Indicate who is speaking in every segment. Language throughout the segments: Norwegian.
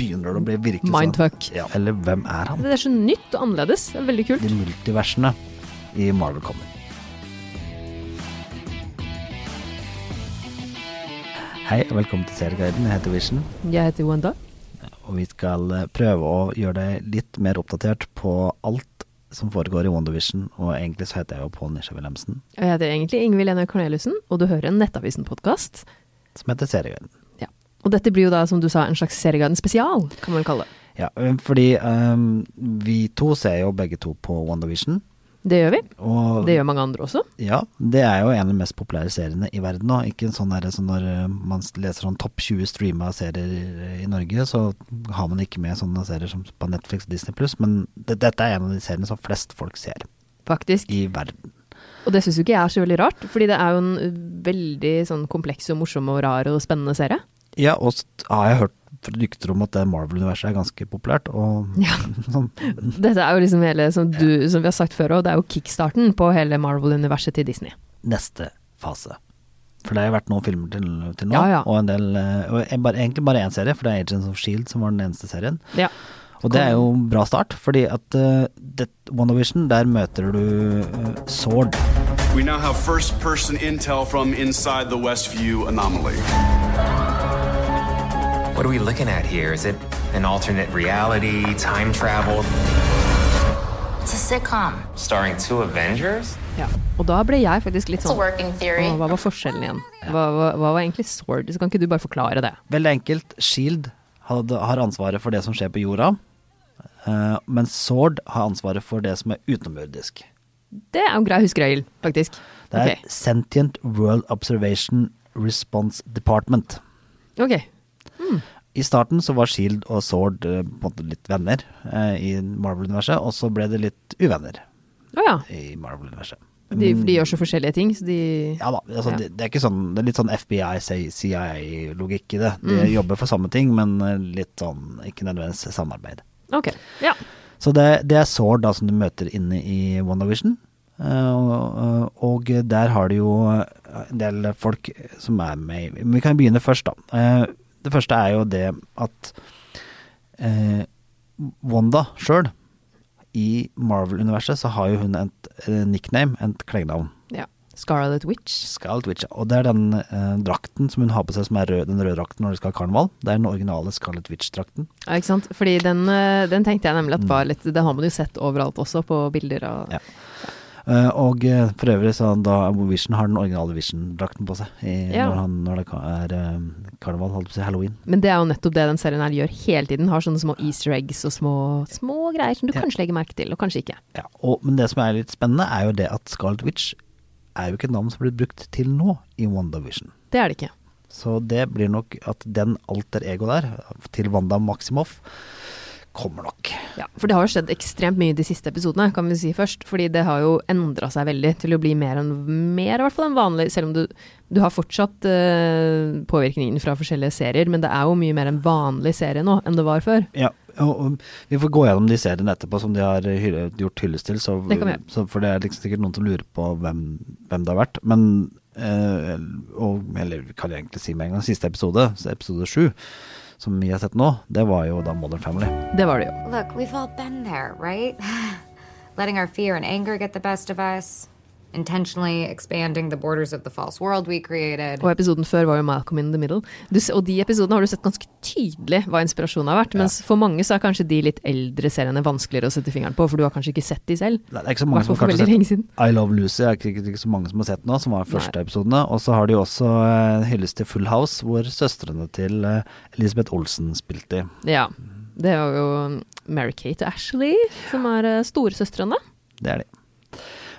Speaker 1: skjønner du, det blir virkelig
Speaker 2: Mindfuck.
Speaker 1: sånn. Ja, eller hvem er han?
Speaker 2: Det er så nytt og annerledes. Det er Veldig kult.
Speaker 1: De multiversene i Marvel Comic. Hei, og velkommen til Serieguiden. Jeg heter Vision.
Speaker 2: Jeg heter Wanda.
Speaker 1: og vi skal eh, prøve å gjøre deg litt mer oppdatert på alt som foregår i WandaVision. Og egentlig så heter jeg jo Pål Nisje Wilhelmsen,
Speaker 2: Og jeg heter egentlig Ingvild Enøy Corneliussen, og du hører en Nettavisen-podkast.
Speaker 1: som heter Serieguiden.
Speaker 2: Ja. Og dette blir jo da, som du sa, en slags Seriegarden spesial, kan man kalle det.
Speaker 1: Ja, eh, fordi ehm, vi to ser jo begge to på WandaVision.
Speaker 2: Det gjør vi.
Speaker 1: Og
Speaker 2: Det gjør mange andre også.
Speaker 1: ja, det er jo en av de mest populære seriene i verden nå. Ikke en sånn derre som når eh, man leser sånn topp 20 streama serier i Norge, så har man ikke med sånne serier som på Netflix og Disney pluss, men det, dette er en av de seriene som flest folk ser
Speaker 2: Faktisk.
Speaker 1: i verden.
Speaker 2: Og det syns jo ikke jeg er så veldig rart, fordi det er jo en uh, veldig sånn kompleks og morsom og rar og spennende serie.
Speaker 1: Ja, og så har jeg hørt fra rykter om at det Marvel-universet er ganske populært, og
Speaker 2: Ja.
Speaker 1: sånn.
Speaker 2: Dette er jo liksom hele, som, du, som vi har sagt før òg, det er jo kickstarten på hele Marvel-universet til Disney.
Speaker 1: Neste fase. For det har jo vært noen filmer til, til nå,
Speaker 2: Ja, ja.
Speaker 1: og en del eh, og en, bare, Egentlig bare én serie, for det er Agents of Shield E som var den eneste serien.
Speaker 2: Ja.
Speaker 1: Og det er jo en bra start, fordi at uh, WandaVision, der møter du eh, Sword.
Speaker 3: We now have first person intel from inside the Westview anomaly.
Speaker 4: What are we looking at here? Is it an alternate reality, time travel,
Speaker 5: It's a sitcom.
Speaker 4: starring two Avengers?
Speaker 2: Ja. Og da ble jeg faktisk litt
Speaker 5: It's a
Speaker 2: sånn
Speaker 5: working theory.
Speaker 2: «Å, Hva var forskjellen igjen? Hva, hva, hva var egentlig Sword? Så kan ikke du bare forklare det?
Speaker 1: Veldig enkelt, Shield E hadde, har ansvaret for det som skjer på jorda, eh, mens Sword har ansvaret for det som er utenomjordisk.
Speaker 2: Det er jo en grei huskeregel, faktisk.
Speaker 1: Det er
Speaker 2: Ok.
Speaker 1: Sentient World Observation Response Department.
Speaker 2: Ok.
Speaker 1: I starten så var Shield og Sword eh, på en måte litt venner eh, i Marvel-universet, og så ble det litt uvenner
Speaker 2: Å ja.
Speaker 1: i Marvel-universet.
Speaker 2: De, for de gjør så forskjellige ting, så de
Speaker 1: Mm. Ja da, altså,
Speaker 2: Ja.
Speaker 1: Det, det er ikke sånn, det er litt sånn FBI, CIA-logikk i det. De jobber for samme ting, men eh, litt sånn ikke nødvendigvis samarbeid.
Speaker 2: Ok. Ja.
Speaker 1: Så det, det er Sword da som du møter inne i WandaVision. eh, og, og der har du jo eh, en del folk som er med i Men vi kan begynne først, da. Eh, det første er jo det at eh, Wanda sjøl, i Marvel-universet, så har jo hun et eh, nickname, et klengenavn.
Speaker 2: ja. Scarlet Witch.
Speaker 1: Scarlet Witch. Og det er den eh, drakten som hun har på seg, som er rød, den røde drakten når de skal ha karneval. Det er den originale Scarlet Witch-drakten.
Speaker 2: Ja, ikke sant? Fordi den, eh, den tenkte jeg nemlig at var litt Det har man jo sett overalt også, på bilder av
Speaker 1: Mm. Ja. Eh, og eh, for øvrig så han da Vision har den originale Vision-drakten på seg i,
Speaker 2: Ja.
Speaker 1: når, han, når det ka- er eh, karneval, holdt på å si halloween.
Speaker 2: Men det er jo nettopp det den serien her gjør hele tiden. Har sånne små easter eggs og små, små greier som du
Speaker 1: Ja.
Speaker 2: kanskje legger merke til, og kanskje ikke.
Speaker 1: Ja, og, men det som er litt spennende, er jo det at Scarlet Witch er jo ikke et navn som blir brukt til nå i WandaVision.
Speaker 2: Det er det ikke.
Speaker 1: Så det blir nok at den alter ego der, til Wanda Maximoff, kommer nok.
Speaker 2: Ja, for det har jo skjedd ekstremt mye de siste episodene, kan vi si først. Fordi det har jo endra seg veldig til å bli mer enn mer, i hvert fall enn vanlig. Selv om du, du har fortsatt eh, påvirkningen fra forskjellige serier, men det er jo mye mer en vanlig serie nå enn det var før.
Speaker 1: Ja, og, og vi får gå gjennom de seriene etterpå som de har hylle, gjort hyllest til, så,
Speaker 2: Det kan vi gjøre.
Speaker 1: så, for det er liksom sikkert noen som lurer på hvem, hvem det har vært. Men eh, og, Eller vi kan egentlig si med en gang, siste episode, så episode sju, som vi har sett nå, det var jo da Modern Family.
Speaker 2: Det var det jo.
Speaker 5: Look, we've all been there, right? Letting our fear and anger get the best of us, intentionally expanding the borders of the false world we created.
Speaker 2: Og episoden før var jo Malcolm in the Middle. Du, s- og de episodene har du sett ganske tydelig hva inspirasjonen har vært. Mens for mange så er kanskje de litt eldre seriene vanskeligere å sette fingeren på, for du har kanskje ikke sett de selv.
Speaker 1: Det er ikke så mange som
Speaker 2: Hvertfall for
Speaker 1: kanskje
Speaker 2: veldig
Speaker 1: har
Speaker 2: lenge
Speaker 1: sett
Speaker 2: siden.
Speaker 1: I Love Lucy, er ikke, ikke så mange som har sett nå, som var første
Speaker 2: Nei.
Speaker 1: episodene. Og så har de jo også eh, hyllest til Full House, hvor søstrene til eh, Elisabeth Olsen spilte i.
Speaker 2: Ja. Det er jo Mary-Kate og Ashley, som er eh, storesøstrene.
Speaker 1: Det er de.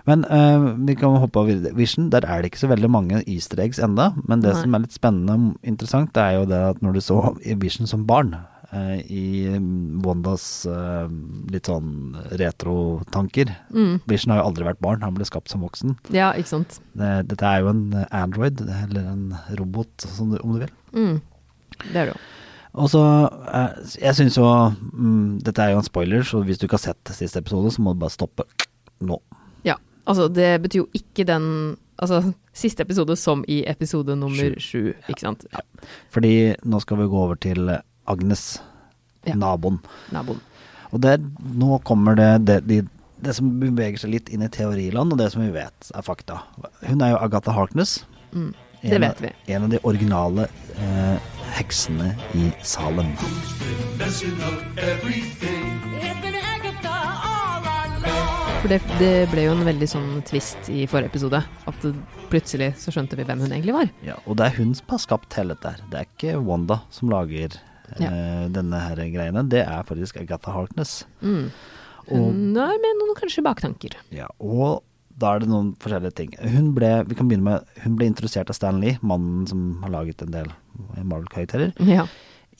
Speaker 1: Men eh, vi kan hoppe over i Vision. Der er det ikke så veldig mange easter eggs enda, men det
Speaker 2: Nei.
Speaker 1: som er litt spennende og interessant, det er jo det at når du så i Vision som barn, eh, i mm, Wandas eh, litt sånn retrotanker Vision har jo aldri vært barn, han ble skapt som voksen.
Speaker 2: Ja, ikke sant.
Speaker 1: Det, dette er jo en android, eller en robot, som du, om du vil.
Speaker 2: Det er det jo.
Speaker 1: Og så, eh, jeg synes jo mm, Dette er jo en spoiler, så hvis du ikke har sett siste episode, så må du bare stoppe nå.
Speaker 2: Ja. Altså, det betyr jo ikke den Altså, siste episode som i episode nummer sju, ikke sant. Ja.
Speaker 1: Fordi nå skal vi gå over til Agnes.
Speaker 2: Ja.
Speaker 1: naboen.
Speaker 2: naboen.
Speaker 1: Og der, nå kommer det det, de, det som beveger seg litt inn i teoriland, og det som vi vet er fakta. Hun er jo Agatha Harkness.
Speaker 2: Mm, det
Speaker 1: En av-
Speaker 2: vet
Speaker 1: En av de originale eh, heksene i Salem.
Speaker 2: For det, det ble jo en veldig sånn twist i forrige episode. At det- plutselig så skjønte vi hvem hun egentlig var.
Speaker 1: Ja, og det er hun som har skapt hele dette her. Det er ikke Wanda som lager eh, denne her greiene. Det er faktisk Agatha Harkness.
Speaker 2: Mm.
Speaker 1: Og
Speaker 2: Hun er med noen kanskje baktanker.
Speaker 1: Ja, og da er det noen forskjellige ting. Hun ble, vi kan begynne med, hun ble introdusert av Stan Lee, mannen som har laget en del Marvel-karakterer,
Speaker 2: Ja.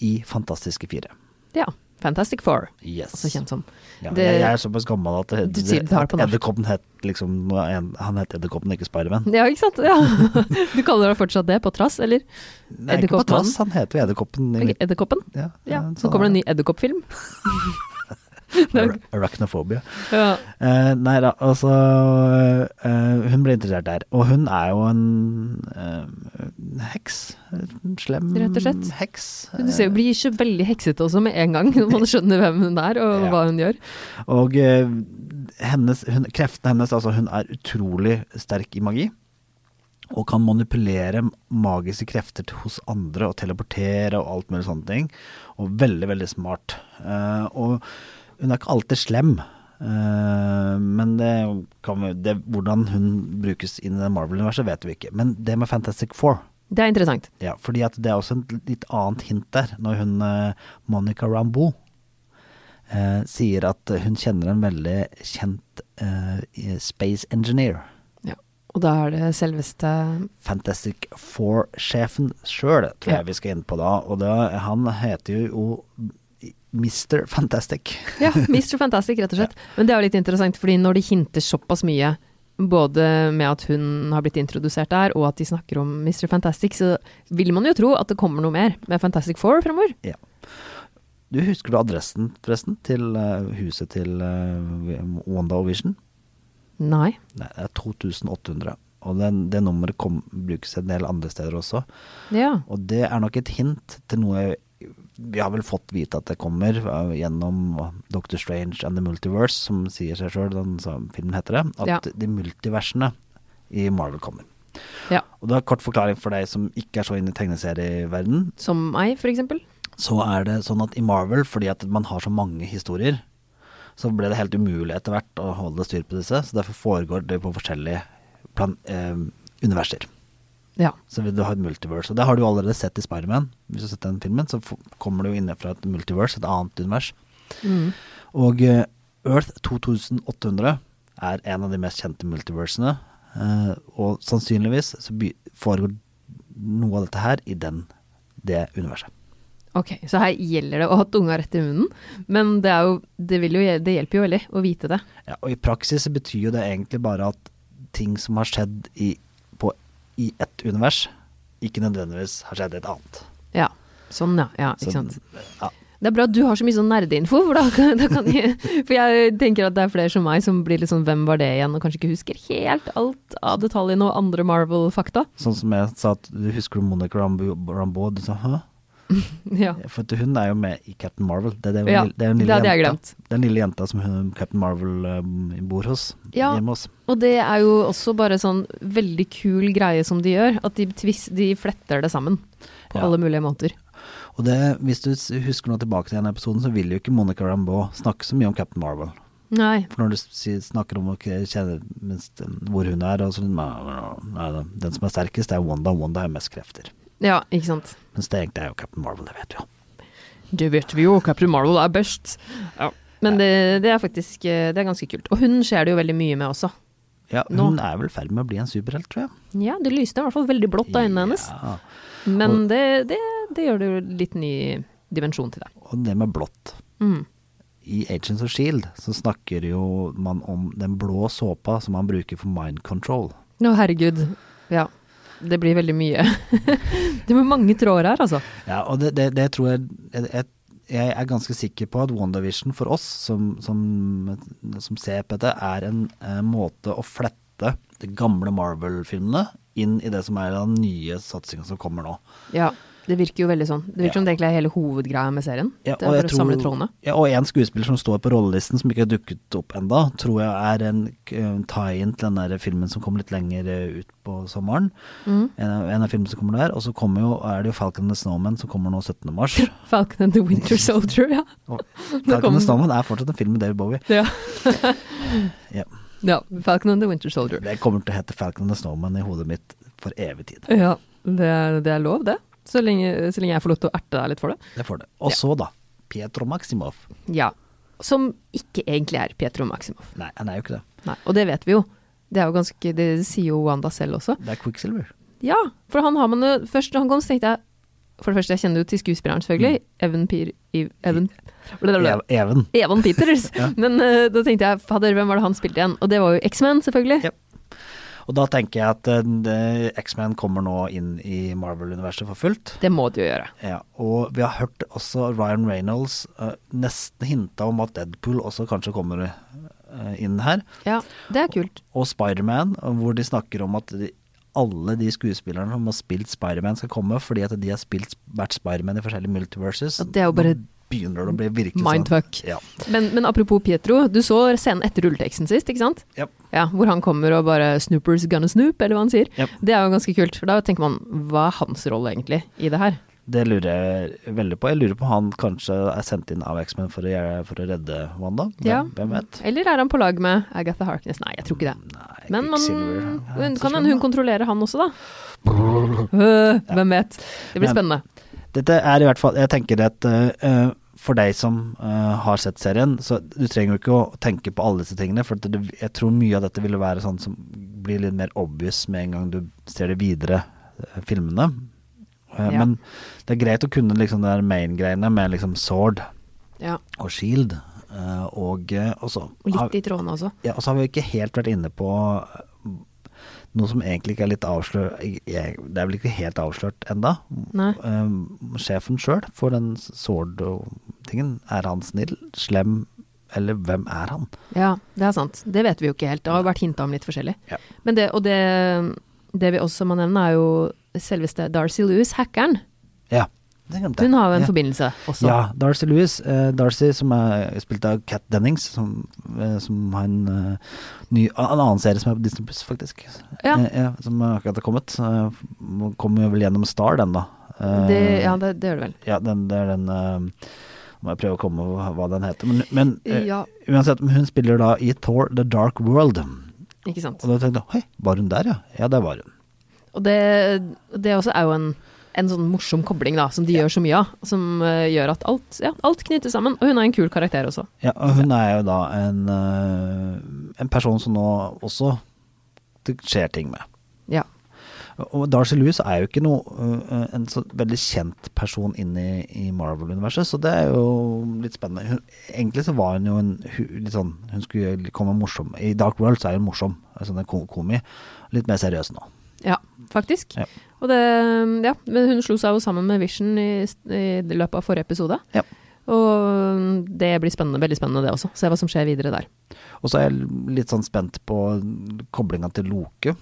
Speaker 1: i Fantastiske fire.
Speaker 2: ja. Fantastic Four,
Speaker 1: Yes.
Speaker 2: også kjent som.
Speaker 1: Ja,
Speaker 2: det-
Speaker 1: jeg, jeg er såpass gammel at, det-
Speaker 2: Du sier du tar det på
Speaker 1: at
Speaker 2: norsk.
Speaker 1: Edderkoppen het liksom nå er en- Han het Edderkoppen, ikke Spiderman.
Speaker 2: Ja, ikke sant? Ja. Du kaller deg fortsatt det, på trass, eller?
Speaker 1: Nei, ikke på
Speaker 2: Edderkoppmannen.
Speaker 1: trass, han heter jo Edderkoppen. i
Speaker 2: Ok,
Speaker 1: mitt-
Speaker 2: Edderkoppen?
Speaker 1: Ja, ja,
Speaker 2: Ja. Så kommer det en ny edderkoppfilm.
Speaker 1: Ar- Arachnophobia.
Speaker 2: Ja.
Speaker 1: Eh, nei da, altså eh, Hun ble interessert der. Og hun er jo en eh, heks. En slem
Speaker 2: Rett og slett.
Speaker 1: heks.
Speaker 2: Du ser jo blir ikke veldig heksete også med en gang, når man skjønner hvem hun er og
Speaker 1: Ja.
Speaker 2: hva hun gjør.
Speaker 1: Og eh, hennes, hun, kreftene hennes, altså hun er utrolig sterk i magi. Og kan manipulere magiske krefter til- hos andre og teleportere og alt mulig sånne ting. Og veldig, veldig smart. Eh, og hun er ikke alltid slem. eh, men det kan vi, det, hvordan hun brukes i det Marvel-universet, vet vi ikke. Men det med Fantastic Four
Speaker 2: Det er interessant.
Speaker 1: ja, fordi at det er også et litt annet hint der, når hun eh, Monica Rambeau eh, sier at hun kjenner en veldig kjent eh, i- space engineer.
Speaker 2: Ja. Og da er det selveste
Speaker 1: Fantastic Four-sjefen sjøl, tror
Speaker 2: Ja.
Speaker 1: jeg vi skal inn på da. Og da, han heter jo Mr. Fantastic.
Speaker 2: Ja, Mr. Fantastic, rett og slett. Men det er jo litt interessant, fordi når de hinter såpass mye, både med at hun har blitt introdusert der, og at de snakker om Mr. Fantastic, så vil man jo tro at det kommer noe mer med Fantastic Four fremover.
Speaker 1: Ja. Du husker du adressen, forresten, til eh, huset til eh, Wanda og Vision?
Speaker 2: Nei.
Speaker 1: Nei, det er 2800. Og den, det nummeret kom, brukes en del andre steder også.
Speaker 2: Ja.
Speaker 1: Og det er nok et hint til noe jeg- vi har vel fått vite at det kommer eh, gjennom Doctor Strange and the Multiverse, som sier seg sjøl, den som filmen heter det, at
Speaker 2: Ja.
Speaker 1: de multiversene i Marvel kommer.
Speaker 2: ja.
Speaker 1: Og da kort forklaring for deg som ikke er så inne i tegneserieverden,
Speaker 2: Som meg, for eksempel.
Speaker 1: så er det sånn at i Marvel, fordi at man har så mange historier, så ble det helt umulig etter hvert å holde styr på disse, så derfor foregår det på forskjellige plan eh, universer.
Speaker 2: Ja.
Speaker 1: Så vil du ha et multiverse, og det har du jo allerede sett i Spiderman. Hvis du har sett den filmen, så f- kommer du jo inne fra et multiverse, et annet univers. Og eh, Earth 2800 er en av de mest kjente multiversene, eh, og sannsynligvis så by- foregår noe av dette her i den, det universet.
Speaker 2: Ok, så her gjelder det å ha tunga rett i munnen, men det, er jo, det, vil jo, det hjelper jo veldig å vite det.
Speaker 1: Ja, og i praksis så betyr jo det egentlig bare at ting som har skjedd i, på, i ett univers, ikke nødvendigvis har skjedd i et annet.
Speaker 2: Ja, sånn ja, ja
Speaker 1: Så-
Speaker 2: ikke sant.
Speaker 1: Ja,
Speaker 2: Det er bra at du har så mye sånn nerdeinfo, for da, kan- da kan jeg For jeg tenker at det er flere som meg som blir litt sånn hvem var det igjen, og kanskje ikke husker helt alt av detaljene og andre Marvel-fakta.
Speaker 1: Sånn som jeg sa at du husker du Monica Rambeau, Rambeau du sa hæ?
Speaker 2: Ja.
Speaker 1: For at hun er jo med i Captain Marvel. Det er, den
Speaker 2: Ja,
Speaker 1: lille- det er den
Speaker 2: det
Speaker 1: lille
Speaker 2: hadde jeg
Speaker 1: jenta,
Speaker 2: glemt.
Speaker 1: den lille jenta som hun, Captain Marvel eh, bor hos.
Speaker 2: Ja.
Speaker 1: Hjemme hos.
Speaker 2: Og det er jo også bare sånn veldig kul greie som de gjør, at de, twist, de fletter det sammen på
Speaker 1: Ja.
Speaker 2: alle mulige måter.
Speaker 1: Og det, hvis du s- husker nå tilbake til den episoden, så vil jo ikke Monica Rambeau snakke så mye om Captain Marvel.
Speaker 2: Nei.
Speaker 1: For når du sier- snakker om å k- kjenne minst hvor hun er, og sånn nei, nei, Den som er sterkest, er Wanda. Wanda har mest krefter.
Speaker 2: Ja, ikke sant.
Speaker 1: Mens det egentlig er jo Captain Marvel, det vet du jo.
Speaker 2: Det vet vi jo, Captain Marvel er best. Ja. Men det, det er faktisk eh, det er ganske kult. Og hun skjer det jo veldig mye med også.
Speaker 1: Ja, hun er vel i ferd med å bli en superhelt, tror jeg.
Speaker 2: Ja, det lyste i hvert fall veldig blått av øynene hennes.
Speaker 1: Ja.
Speaker 2: Men det, det, det gjør det jo litt ny dimensjon til det.
Speaker 1: Og det med blått. I Agents of Shield så snakker jo man om den blå såpa som man bruker for mind control.
Speaker 2: Å, herregud. Ja. Det blir veldig mye. det blir mange tråder her, altså.
Speaker 1: Ja, og det, det, det tror jeg, jeg Jeg er ganske sikker på at WandaVision for oss som, som, som ser på dette, er en eh, måte å flette de gamle Marvel-filmene inn i det som er den nye satsinga som kommer nå.
Speaker 2: Ja. Det virker jo veldig sånn. Det virker som det egentlig er hele hovedgreia med serien.
Speaker 1: Ja,
Speaker 2: det er
Speaker 1: jeg
Speaker 2: for å samle trådene.
Speaker 1: Ja, og en skuespiller som står på rollelisten som ikke har dukket opp enda, tror jeg er en k- en tie-in til den der filmen som kom litt lenger eh, ut på sommeren.
Speaker 2: Mm.
Speaker 1: En, av, en av filmene som kommer der. Og så kommer jo, er det jo Falcon and the Snowman som kommer nå 17. mars.
Speaker 2: Falcon and the Winter Soldier, ja.
Speaker 1: Og
Speaker 2: kommer
Speaker 1: Falcon and the
Speaker 2: den.
Speaker 1: Snowman er fortsatt en film med David Bowie.
Speaker 2: Ja.
Speaker 1: Ja.
Speaker 2: ja. Falcon and the Winter Soldier.
Speaker 1: Det kommer til å hete Falcon and the Snowman i hodet mitt for evig tid.
Speaker 2: Ja, det er, det er lov, det. Så lenge, så lenge jeg får lov til å erte deg litt for det.
Speaker 1: Det får det. Og så, da. Pietro Maximov.
Speaker 2: Ja. Som ikke egentlig er Pietro Maximoff.
Speaker 1: Nei, han er jo ikke det.
Speaker 2: Nei, og det vet vi jo. Det er jo ganske, det sier jo Wanda selv også.
Speaker 1: Det er Quicksilver.
Speaker 2: Ja, for han har man jo Først da han kom, så tenkte jeg For det første, jeg kjenner jo til skuespilleren, selvfølgelig. Evan Peer... Ev- Evan, blablabla.
Speaker 1: Ev- Even.
Speaker 2: Evan Peters. Men eh, da tenkte jeg fader, hvem var det han spilte igjen? Og det var jo X-Men, selvfølgelig.
Speaker 1: Ja. Og da tenker jeg at eh, det- X-Men kommer nå inn i Marvel-universet for fullt.
Speaker 2: Det må de jo gjøre.
Speaker 1: Ja, og vi har hørt også Ryan Reynolds eh, nesten hinta om at Deadpool også kanskje kommer eh, inn her.
Speaker 2: Ja, det er kult.
Speaker 1: Og Spiderman, hvor de snakker om at de, alle de skuespillerne som har spilt Spiderman skal komme, fordi at de har spilt, vært Spiderman i forskjellige multiverses.
Speaker 2: Og det er jo bare
Speaker 1: Nå begynner det å bli virkelig
Speaker 2: mindfuck.
Speaker 1: Sånn. Ja.
Speaker 2: Men, men apropos Pietro, du så scenen etter rulleteksten sist, ikke sant?
Speaker 1: Ja.
Speaker 2: Ja, Hvor han kommer og bare 'Snoopers gonna snoop', eller hva han sier.
Speaker 1: Ja.
Speaker 2: Det er jo ganske kult, for da tenker man hva er hans rolle egentlig i det her?
Speaker 1: Det lurer jeg veldig på. Jeg lurer på om han kanskje er sendt inn av X-Men for, å gjøre- for å redde Wanda. Hvem,
Speaker 2: Ja.
Speaker 1: hvem vet?
Speaker 2: Eller er han på lag med Agatha Harkness? Nei, jeg tror ikke det.
Speaker 1: Mm, Nei,
Speaker 2: Men man,
Speaker 1: Quicksilver, ja,
Speaker 2: hun,
Speaker 1: så
Speaker 2: kan
Speaker 1: slem,
Speaker 2: hende hun
Speaker 1: da.
Speaker 2: kontrollerer han også, da. Øh, Hvem vet. Det blir
Speaker 1: Men-
Speaker 2: spennende.
Speaker 1: Dette er i hvert fall Jeg tenker at eh, eh, for deg som eh, har sett serien, så du trenger jo ikke å tenke på alle disse tingene. For at det, jeg tror mye av dette ville være sånn som blir litt mer obvious med en gang du ser de videre eh, filmene. Eh,
Speaker 2: Ja.
Speaker 1: Men det er greit å kunne liksom de der main-greiene med liksom sword
Speaker 2: Ja,
Speaker 1: og shield. eh, og, eh, og så
Speaker 2: og
Speaker 1: har-
Speaker 2: Litt i trådene også.
Speaker 1: Ja, og så har vi ikke helt vært inne på eh, noe som egentlig ikke er litt avslørt Det er vel ikke helt avslørt enda.
Speaker 2: Nei.
Speaker 1: Eh, sjefen sjøl for den Sword-tingen, er han snill, slem, eller hvem er han?
Speaker 2: Ja, det er sant. Det vet vi jo ikke helt. Det har jo vært hinta om litt forskjellig.
Speaker 1: Ja.
Speaker 2: Men det, og det, det vi også må nevne, er jo selveste Darcy Lewis, hackeren.
Speaker 1: Ja, det glemte jeg.
Speaker 2: Hun har jo en altså.
Speaker 1: ja.
Speaker 2: forbindelse også.
Speaker 1: Ja, Darcy Lewis. eh, Darcy som er spilt av Cat Dennings, som, eh, som har en, eh, ny, en annen serie som er på Disney Plus, faktisk.
Speaker 2: Ja.
Speaker 1: Eh, ja, som akkurat har kommet. Uh, kommer vel gjennom Star, den da. Eh,
Speaker 2: Det, ja, det, det gjør det vel.
Speaker 1: Ja, den, det er den eh, Må jeg prøve å komme på hva den heter. Men, men eh,
Speaker 2: Ja.
Speaker 1: uansett, men hun spiller da i Thor The Dark World. Og
Speaker 2: Ikke sant.
Speaker 1: da tenkte jeg hei, var hun der, ja? Ja, der var hun.
Speaker 2: Og det, det også er jo en, en sånn morsom kobling, da, som de gjør så mye av. Som eh, gjør at alt, ja, alt knyttes sammen. Og hun er en kul karakter også.
Speaker 1: Ja, og hun er jo da en, eh, en person som nå også det skjer ting med.
Speaker 2: Ja.
Speaker 1: Og Darcy Lewis er jo ikke noe, eh, en så veldig kjent person inne i Marvel-universet, så det er jo litt spennende. Hun, egentlig så var hun jo en hu- litt sånn Hun skulle komme morsom. I Dark World så er hun morsom, en sånn en ko- komi. Litt mer seriøs nå.
Speaker 2: Ja, faktisk.
Speaker 1: Ja.
Speaker 2: Og det, ja, men hun slo seg jo sammen med Vision i, i løpet av forrige episode.
Speaker 1: Ja.
Speaker 2: Og mm, det blir spennende, veldig spennende det også. Se hva som skjer videre der.
Speaker 1: Og så er jeg litt sånn spent på koblinga til Loke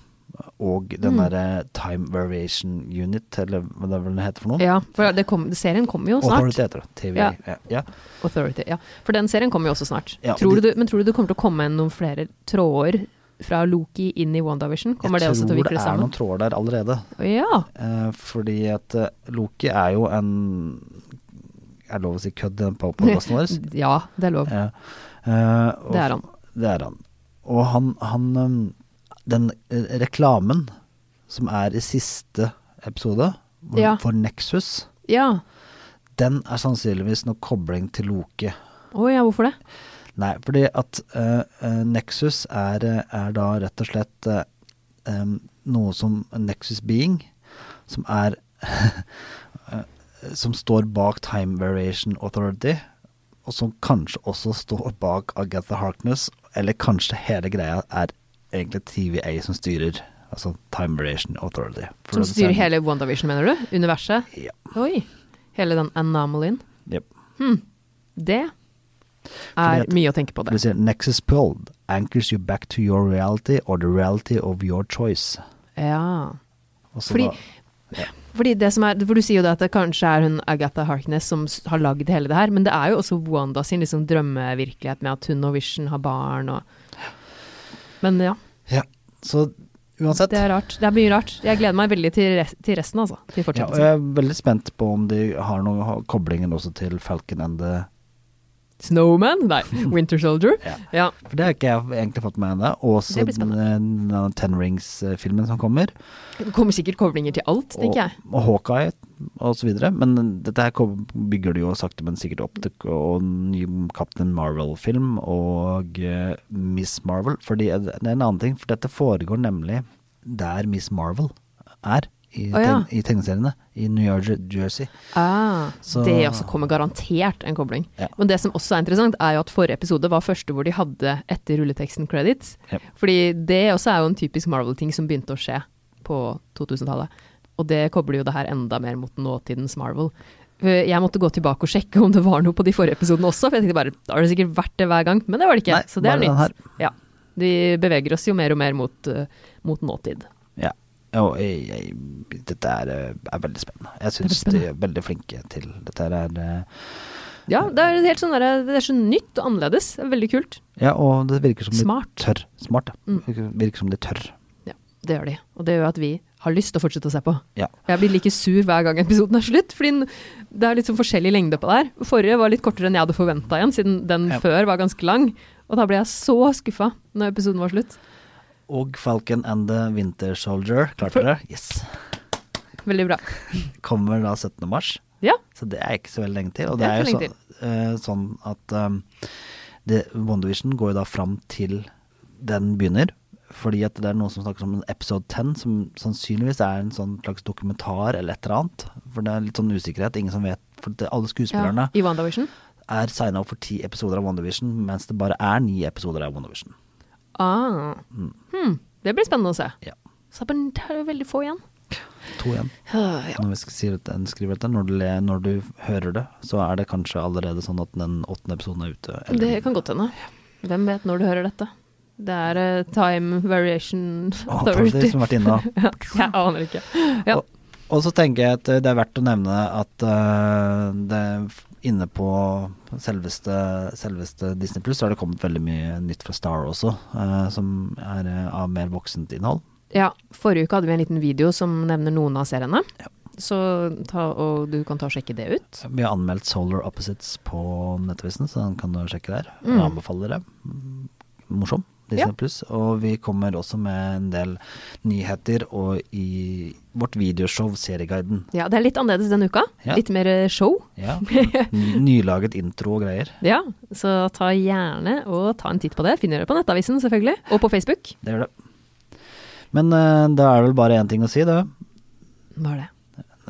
Speaker 1: og den
Speaker 2: Mm.
Speaker 1: derre Time Variation Unit, eller hva det er vel det heter for noe.
Speaker 2: Ja, for det kom, serien kommer jo
Speaker 1: Authority
Speaker 2: snart.
Speaker 1: heter det. TV.
Speaker 2: Ja.
Speaker 1: Ja. Ja.
Speaker 2: Authority, ja. For den serien kommer jo også snart.
Speaker 1: Ja,
Speaker 2: tror
Speaker 1: de-
Speaker 2: du, men tror du det kommer til å komme noen flere tråder fra Loki inn i WandaVision? Kommer det også til
Speaker 1: Jeg tror
Speaker 2: å vikle
Speaker 1: det er noen
Speaker 2: sammen?
Speaker 1: tråder der allerede.
Speaker 2: Ja.
Speaker 1: Eh, fordi at eh, Loki er jo en Er det lov å si kødd i den podkasten vår?
Speaker 2: ja, det er lov.
Speaker 1: Ja. Eh, og-
Speaker 2: Det er han.
Speaker 1: Det er han. Og han, han um, Den eh, reklamen som er i siste episode, hvor-
Speaker 2: Ja.
Speaker 1: for Nexus,
Speaker 2: Ja.
Speaker 1: den er sannsynligvis noe kobling til Loki.
Speaker 2: Å ja, hvorfor det?
Speaker 1: Nei, fordi at eh, eh, Nexus er, eh, er da rett og slett eh, em, noe som en Nexus Being, som er eh, Som står bak Time Variation Authority, og som kanskje også står bak Agatha Harkness, eller kanskje hele greia er egentlig TVA som styrer. Altså Time Variation Authority. For
Speaker 2: Som
Speaker 1: det-
Speaker 2: styrer hele WandaVision, mener du? Universet?
Speaker 1: Ja.
Speaker 2: Oi. Hele den anomalien.
Speaker 1: Jep.
Speaker 2: Det
Speaker 1: Fordi
Speaker 2: er
Speaker 1: at-
Speaker 2: mye å tenke på,
Speaker 1: For det
Speaker 2: det.
Speaker 1: sier Nexus pulled anchors you back to your reality or the reality of your choice.
Speaker 2: Ja.
Speaker 1: Og så
Speaker 2: Fordi
Speaker 1: da-
Speaker 2: Fordi det som er, for Du sier jo da at det kanskje er hun Agatha Harkness som s- har lagd hele det her, men det er jo også Wanda sin liksom drømmevirkelighet med at hun og Vision har barn og Men ja,
Speaker 1: Ja. Så uansett
Speaker 2: det er rart. Det er mye rart. Jeg gleder meg veldig til, res til resten, altså. Til
Speaker 1: ja, og
Speaker 2: fortsettelsen.
Speaker 1: Jeg er veldig spent på om de har noen ha- koblingen også til Falcon and the
Speaker 2: Snowman? Nei, Winter Soldier?
Speaker 1: Ja.
Speaker 2: ja.
Speaker 1: For det har ikke jeg egentlig fått med ennå. Og så
Speaker 2: Det blir
Speaker 1: den,
Speaker 2: spennende.
Speaker 1: den Ten Rings-filmen som kommer.
Speaker 2: Det kommer sikkert koblinger til alt,
Speaker 1: Og,
Speaker 2: tenker jeg.
Speaker 1: og Hawkeye og så videre. Men dette her kom- bygger det jo sakte, men sikkert opp til og ny Captain Marvel-film og eh, Miss Marvel. Fordi eh, det er en annen ting, for dette foregår nemlig der Miss Marvel er. I,
Speaker 2: Å ja.
Speaker 1: tegn- i tegneseriene. I New York Jersey.
Speaker 2: Ah,
Speaker 1: Så-
Speaker 2: Det også kommer garantert en kobling.
Speaker 1: Ja.
Speaker 2: Men det som også er interessant, er jo at forrige episode var første hvor de hadde etter rulleteksten credits.
Speaker 1: Ja.
Speaker 2: Fordi det også er jo en typisk Marvel-ting som begynte å skje på 2000-tallet. Og det kobler jo det her enda mer mot nåtidens Marvel. For Jeg måtte gå tilbake og sjekke om det var noe på de forrige episodene også, for jeg tenkte bare da har det sikkert vært det hver gang, men det var det ikke.
Speaker 1: Nei,
Speaker 2: så det er
Speaker 1: bare den her.
Speaker 2: nytt. Ja. Vi beveger oss jo mer og mer mot, eh, mot nåtid.
Speaker 1: Ja. Og jeg, jeg, dette er, eh, er veldig spennende. Jeg
Speaker 2: er
Speaker 1: syns
Speaker 2: veldig
Speaker 1: de er veldig flinke til dette. her er eh,
Speaker 2: Ja, det er, helt sånn der, det er så nytt og annerledes. Det er veldig kult.
Speaker 1: Ja, og det virker som
Speaker 2: Smart. Mm.
Speaker 1: de tør. Smart, ja. Virker- Virker som de tør.
Speaker 2: Ja, det gjør de. Og det gjør at vi har lyst til å fortsette å se på.
Speaker 1: Ja.
Speaker 2: Jeg blir like sur hver gang episoden er slutt, fordi den- det er litt sånn forskjellig lengde på det her. Forrige var litt kortere enn jeg hadde forventa igjen, siden den
Speaker 1: Ja.
Speaker 2: før var ganske lang. Og da ble jeg så skuffa når episoden var slutt.
Speaker 1: Og Falcon and the Winter Soldier, klarte dere? Yes.
Speaker 2: Veldig bra.
Speaker 1: Kommer da 17. mars,
Speaker 2: Ja,
Speaker 1: så det er ikke så veldig lenge til. Og
Speaker 2: Det
Speaker 1: det
Speaker 2: er
Speaker 1: er,
Speaker 2: ikke
Speaker 1: jo
Speaker 2: så
Speaker 1: så, eh, sånn at um, det, WandaVision går jo da fram til den begynner. Fordi at det er noen som snakker om en episode 10, som sannsynligvis er en sånn slags dokumentar eller et eller annet. For det er litt sånn usikkerhet. Ingen som vet. For det, alle
Speaker 2: ja.
Speaker 1: skuespillerne
Speaker 2: I WandaVision.
Speaker 1: er signa opp for ti episoder av WandaVision, mens det bare er ni episoder av WandaVision.
Speaker 2: Ah. Hmm. Det blir spennende å se.
Speaker 1: Ja.
Speaker 2: Så men det er jo veldig få igjen.
Speaker 1: To igjen.
Speaker 2: Ah, ja.
Speaker 1: Når vi skal si dette, skriver dette, når du, le, når du hører det, så er det kanskje allerede sånn at den åttende episoden er ute. eller-
Speaker 2: Det kan godt hende. Hvem vet når du hører dette. Det er eh, Time Variation
Speaker 1: Å, for de
Speaker 2: Authority.
Speaker 1: som har vært inne.
Speaker 2: Ja, jeg aner ikke. Ja.
Speaker 1: Og, og så tenker jeg at eh, det er verdt å nevne at eh, det inne på selveste, selveste Disney Pluss har det kommet veldig mye nytt fra Star også, eh, som er eh, av mer voksent innhold.
Speaker 2: Ja, forrige uke hadde vi en liten video som nevner noen av seriene. Så ta, og du kan ta og sjekke det ut.
Speaker 1: Vi har anmeldt Solar Opposites på nettavisen, så den kan du sjekke der. Jeg anbefaler det. Mm, Morsom. Disney
Speaker 2: Ja.
Speaker 1: Pluss. Og vi kommer også med en del nyheter og i vårt videoshow Serieguiden.
Speaker 2: Ja, Det er litt annerledes denne uka.
Speaker 1: Ja.
Speaker 2: Litt mer eh, show.
Speaker 1: Ja. Ny- Nylaget intro og greier.
Speaker 2: Ja, Så ta gjerne og ta en titt på det. Finner det på Nettavisen selvfølgelig, og på Facebook.
Speaker 1: Det gjør det. Men eh, da er det vel bare én ting å si, det.
Speaker 2: Hva er det?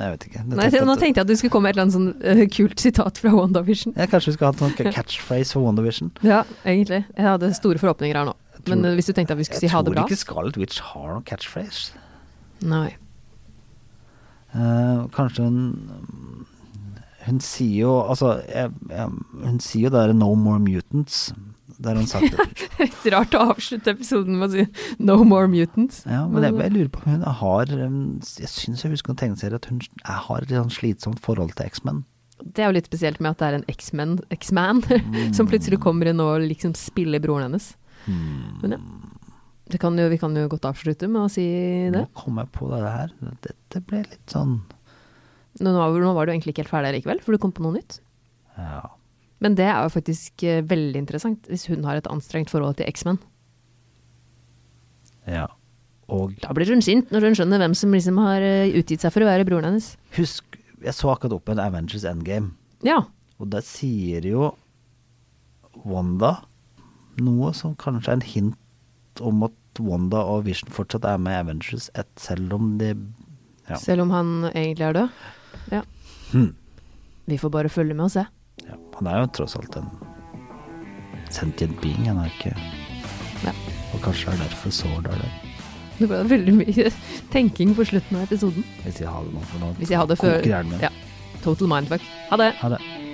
Speaker 1: Jeg vet ikke.
Speaker 2: Nei, se, nå tenkte jeg at du skulle komme med et eller annet sånn eh, kult sitat fra WandaVision.
Speaker 1: ja, kanskje vi skal ha en sånn catchphrase for WandaVision.
Speaker 2: Ja, egentlig. Jeg hadde store forhåpninger her nå. Men eh, hvis du tenkte at vi skulle
Speaker 1: Jeg
Speaker 2: si ha det
Speaker 1: tror
Speaker 2: bra
Speaker 1: ikke Scarlet Witch har noen catchphrase.
Speaker 2: Nei.
Speaker 1: Eh, kanskje hun Hun sier jo Altså, jeg, jeg, hun sier jo det derre 'No more mutants'. Der hun sagt
Speaker 2: Litt rart å avslutte episoden med å si 'No more mutants'.
Speaker 1: Ja, men jeg, jeg lurer på om hun har um, Jeg syns jeg husker en tegneserie at hun jeg har et litt sånn slitsomt forhold til X-Men.
Speaker 2: Det er jo litt spesielt med at det er en X-man X-man, som plutselig kommer inn og liksom spiller broren hennes. Men ja. Det kan jo, vi kan jo godt avslutte med å si det.
Speaker 1: Nå kom jeg på det her. Dette ble litt sånn
Speaker 2: Nå, nå var- nå var du egentlig ikke helt ferdig likevel, for du kom på noe nytt.
Speaker 1: Ja.
Speaker 2: Men det er jo faktisk eh, veldig interessant, hvis hun har et anstrengt forhold til X-man.
Speaker 1: ja. Og
Speaker 2: Da blir hun sint når hun skjønner hvem som liksom har eh, utgitt seg for å være broren hennes.
Speaker 1: husk Jeg så akkurat opp en Avengers Endgame,
Speaker 2: Ja.
Speaker 1: og der sier jo Wanda noe som kanskje er en hint om at Wanda og Vision fortsatt er med i Avengers, et, selv om de ja.
Speaker 2: Selv om han egentlig er død. Ja. Vi får bare følge med og se.
Speaker 1: ja. Han er jo tross alt en sentient being, han er ikke
Speaker 2: Ja.
Speaker 1: Og kanskje det er derfor Sword er der.
Speaker 2: Det ble veldig mye tenking på slutten av episoden.
Speaker 1: Hvis jeg har det nå, for nå
Speaker 2: Hvis jeg hadde før
Speaker 1: koker hjernen min.
Speaker 2: Ja. Total mindfuck. Ha det.
Speaker 1: Ha det.